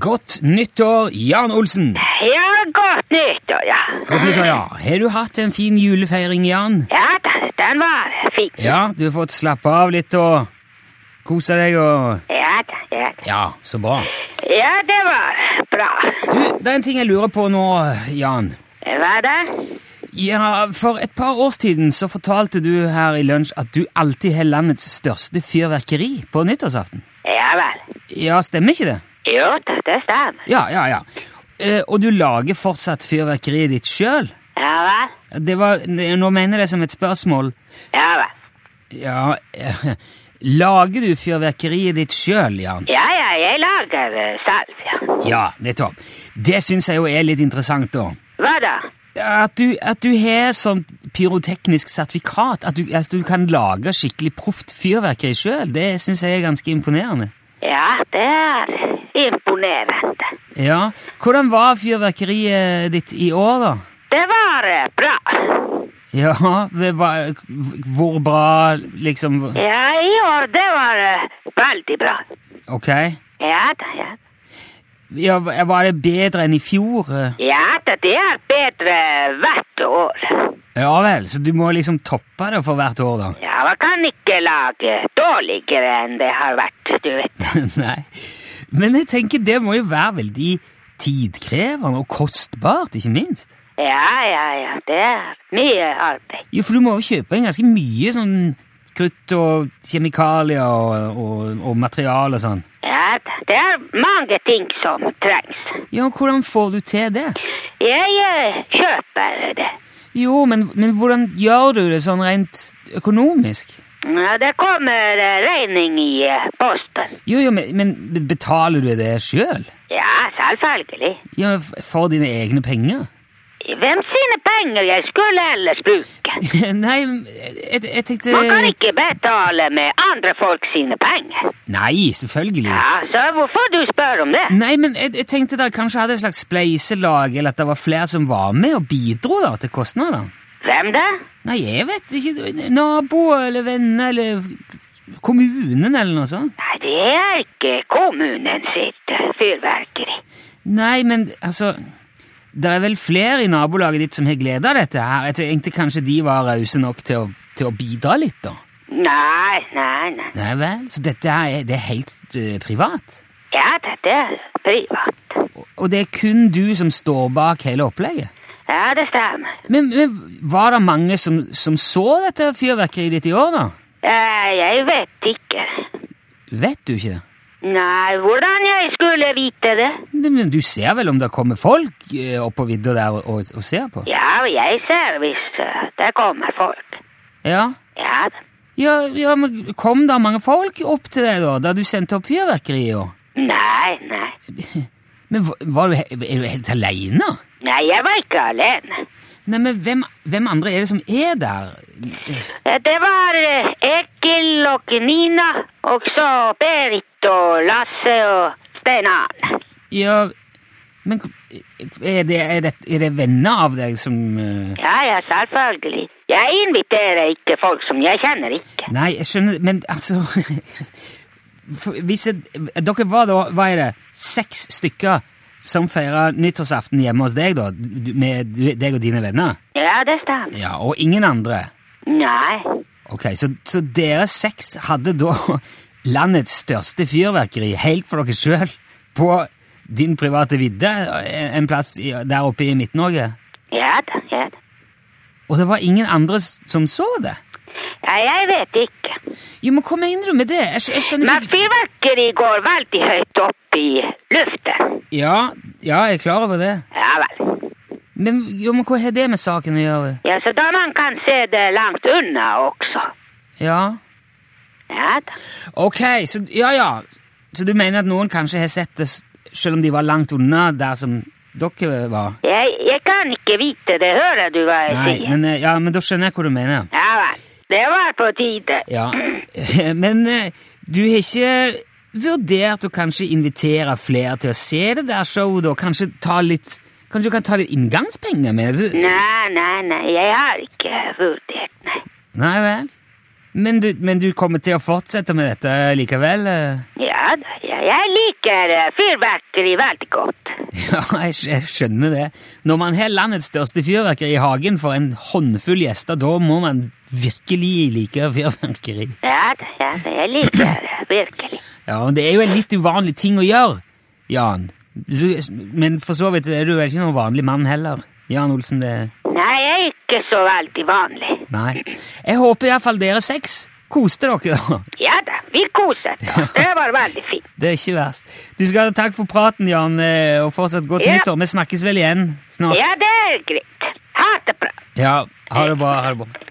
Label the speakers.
Speaker 1: Godt nyttår, Jan Olsen!
Speaker 2: Ja, godt nyttår, ja.
Speaker 1: Godt nyttår, ja. Har du hatt en fin julefeiring, Jan?
Speaker 2: Ja, den, den var fin.
Speaker 1: Ja, du har fått slappe av litt og kose deg og
Speaker 2: Ja, da, ja. da.
Speaker 1: Ja, så bra.
Speaker 2: ja, det var bra.
Speaker 1: Du, det er en ting jeg lurer på nå, Jan.
Speaker 2: Hva da?
Speaker 1: Ja, For et par år siden så fortalte du her i lunsj at du alltid har landets største fyrverkeri på nyttårsaften.
Speaker 2: Ja vel.
Speaker 1: Ja, stemmer ikke det?
Speaker 2: Jo da, det stemmer.
Speaker 1: Ja, ja, ja. Eh, og du lager fortsatt fyrverkeriet ditt sjøl?
Speaker 2: Ja vel.
Speaker 1: Det var, nå mener jeg det som et spørsmål.
Speaker 2: Ja vel.
Speaker 1: Ja eh, Lager du fyrverkeriet ditt sjøl, Jan?
Speaker 2: Ja, ja, jeg lager eh, selv, ja.
Speaker 1: Ja, nettopp. Det syns jeg jo er litt interessant, da.
Speaker 2: Hva da?
Speaker 1: At du, at du har sånt pyroteknisk sertifikat, at du, altså, du kan lage skikkelig proft fyrverkeri sjøl, det syns jeg er ganske imponerende.
Speaker 2: Ja, det er imponerende.
Speaker 1: Ja, Hvordan var fyrverkeriet ditt i år, da?
Speaker 2: Det var eh, bra.
Speaker 1: Ja, hva- hva- Hvor bra, liksom
Speaker 2: Ja, i år, det var eh, veldig bra.
Speaker 1: Ok.
Speaker 2: Ja da, ja.
Speaker 1: Ja, var det bedre enn i fjor?
Speaker 2: Ja da, det er bedre hvert år.
Speaker 1: Ja vel, så du må liksom toppe det for hvert år, da?
Speaker 2: Ja, man kan ikke lage dårligere enn det har vært, du vet.
Speaker 1: Nei. Men jeg tenker det må jo være veldig tidkrevende og kostbart, ikke minst.
Speaker 2: Ja, ja, ja, det er mye arbeid.
Speaker 1: Jo, for du må jo kjøpe inn ganske mye sånn krutt og kjemikalier og, og, og materiale og sånn.
Speaker 2: Ja, da, det er mange ting som trengs.
Speaker 1: Ja, og hvordan får du til det?
Speaker 2: Jeg eh, kjøper det.
Speaker 1: Jo, men, men hvordan gjør du det sånn rent økonomisk?
Speaker 2: Ja, det kommer eh, regning i eh, posten.
Speaker 1: Jo, jo, men, men betaler du det sjøl?
Speaker 2: Ja, selvfølgelig.
Speaker 1: Ja, f- for dine egne penger?
Speaker 2: Hvem sine penger jeg skulle ellers bruke?
Speaker 1: Nei, jeg, jeg tenkte
Speaker 2: Man kan ikke betale med andre folk sine penger.
Speaker 1: Nei, selvfølgelig.
Speaker 2: Ja, så hvorfor du spør om det?
Speaker 1: Nei, men jeg, jeg tenkte dere kanskje hadde et slags spleiselag, eller at det var flere som var med og bidro da, til kostnader.
Speaker 2: Hvem da?
Speaker 1: Nei, jeg vet ikke. Naboer eller venner eller kommunen eller noe sånt.
Speaker 2: Nei, det er ikke kommunen sitt fyrverkeri.
Speaker 1: Nei, men altså Det er vel flere i nabolaget ditt som har glede av dette her. Jeg tenkte kanskje de var rause nok til å, til å bidra litt, da.
Speaker 2: Nei, nei, nei.
Speaker 1: Nei vel, så dette her er, det er helt eh, privat?
Speaker 2: Ja, dette er privat.
Speaker 1: Og, og det er kun du som står bak hele opplegget?
Speaker 2: Ja, det stemmer.
Speaker 1: Men, men var det mange som, som så dette fyrverkeriet ditt i år, da?
Speaker 2: Eh, Jeg vet ikke.
Speaker 1: Vet du ikke det?
Speaker 2: Nei, hvordan jeg skulle vite det?
Speaker 1: Nei, Men du ser vel om det kommer folk eh, opp på vidda der og, og, og ser på?
Speaker 2: Ja, jeg ser hvis eh, det kommer folk.
Speaker 1: Ja.
Speaker 2: Ja, da.
Speaker 1: Ja, ja, men kom da mange folk opp til deg da, da du sendte opp fyrverkeri i år?
Speaker 2: nei, nei.
Speaker 1: Men hva- var du, he- er du helt alene?
Speaker 2: Nei, jeg var ikke alene.
Speaker 1: Nei, men hvem, hvem andre er det som er der?
Speaker 2: Eh, Det var eh, Egil og Nina, og så Berit og Lasse og Stein Arne.
Speaker 1: Ja, men er det, er det, er det venner av deg som... eh,
Speaker 2: Ja, ja, selvfølgelig. Jeg inviterer ikke folk som jeg kjenner ikke.
Speaker 1: Nei, jeg skjønner, men altså... for Hvis jeg, dere var da, hva er det, seks stykker som feirer nyttårsaften hjemme hos deg da, du- med du- deg og dine venner?
Speaker 2: Ja, det stemmer.
Speaker 1: Ja, og ingen andre?
Speaker 2: Nei.
Speaker 1: Ok, så, så dere seks hadde da landets største fyrverkeri helt for dere sjøl på din private vidde, eh, en en plass i- der oppe i Midt-Norge?
Speaker 2: Ja da, ja da.
Speaker 1: Og det var ingen andre s- som så det?
Speaker 2: Ja, jeg vet ikke.
Speaker 1: Jo, men hva mener du med det? Jeg, skj- jeg skjønner
Speaker 2: Men
Speaker 1: ikke
Speaker 2: fyrverkeri går veldig høyt opp i luften.
Speaker 1: ja, ja, jeg er klar over det.
Speaker 2: Ja vel.
Speaker 1: Men, jo, men hva har det med saken å gjøre?
Speaker 2: Ja, så da man kan se det langt unna også.
Speaker 1: Ja,
Speaker 2: Ja da.
Speaker 1: ok, så ja, ja. Så du mener at noen kanskje har sett det s- selv om de var langt unna der som dere var?
Speaker 2: Jeg, jeg kan ikke vite det, hører du hva jeg
Speaker 1: Nei,
Speaker 2: sier?
Speaker 1: men, eh, ja, men da skjønner jeg hva du mener.
Speaker 2: Ja vel. Det var på tide.
Speaker 1: Ja, men eh, du har ikke vurdert å kanskje invitere flere til å se det der showet, og kanskje ta litt Kanskje du kan ta litt inngangspenger med det?
Speaker 2: Nei, nei, nei, jeg har ikke vurdert, nei.
Speaker 1: Nei vel? Men du, men du kommer til å fortsette med dette likevel? eh?
Speaker 2: Ja da, ja, jeg liker eh, fyrverkeri veldig godt.
Speaker 1: Ja, jeg, skj- jeg skjønner det. Når man har landets største fyrverkeri i hagen for en håndfull gjester, da må man virkelig like fyrverkeri.
Speaker 2: Ja da, ja da, jeg liker det virkelig.
Speaker 1: Ja, men det er jo en litt uvanlig ting å gjøre, Jan. Så- Men for så vidt så er du vel ikke noen vanlig mann heller, Jan Olsen. det...
Speaker 2: Nei, jeg er ikke så veldig vanlig.
Speaker 1: Nei. Jeg håper iallfall dere seks koste dere, da.
Speaker 2: Ja da, vi koset oss. Det var veldig fint.
Speaker 1: Det er ikke verst. Du skal ha takk for praten, Jan, eh, og fortsatt godt
Speaker 2: Ja.
Speaker 1: nyttår. Vi snakkes vel igjen snart.
Speaker 2: Ja, det er greit. Ha det bra.
Speaker 1: Ja, ha det bra. Ha det bra.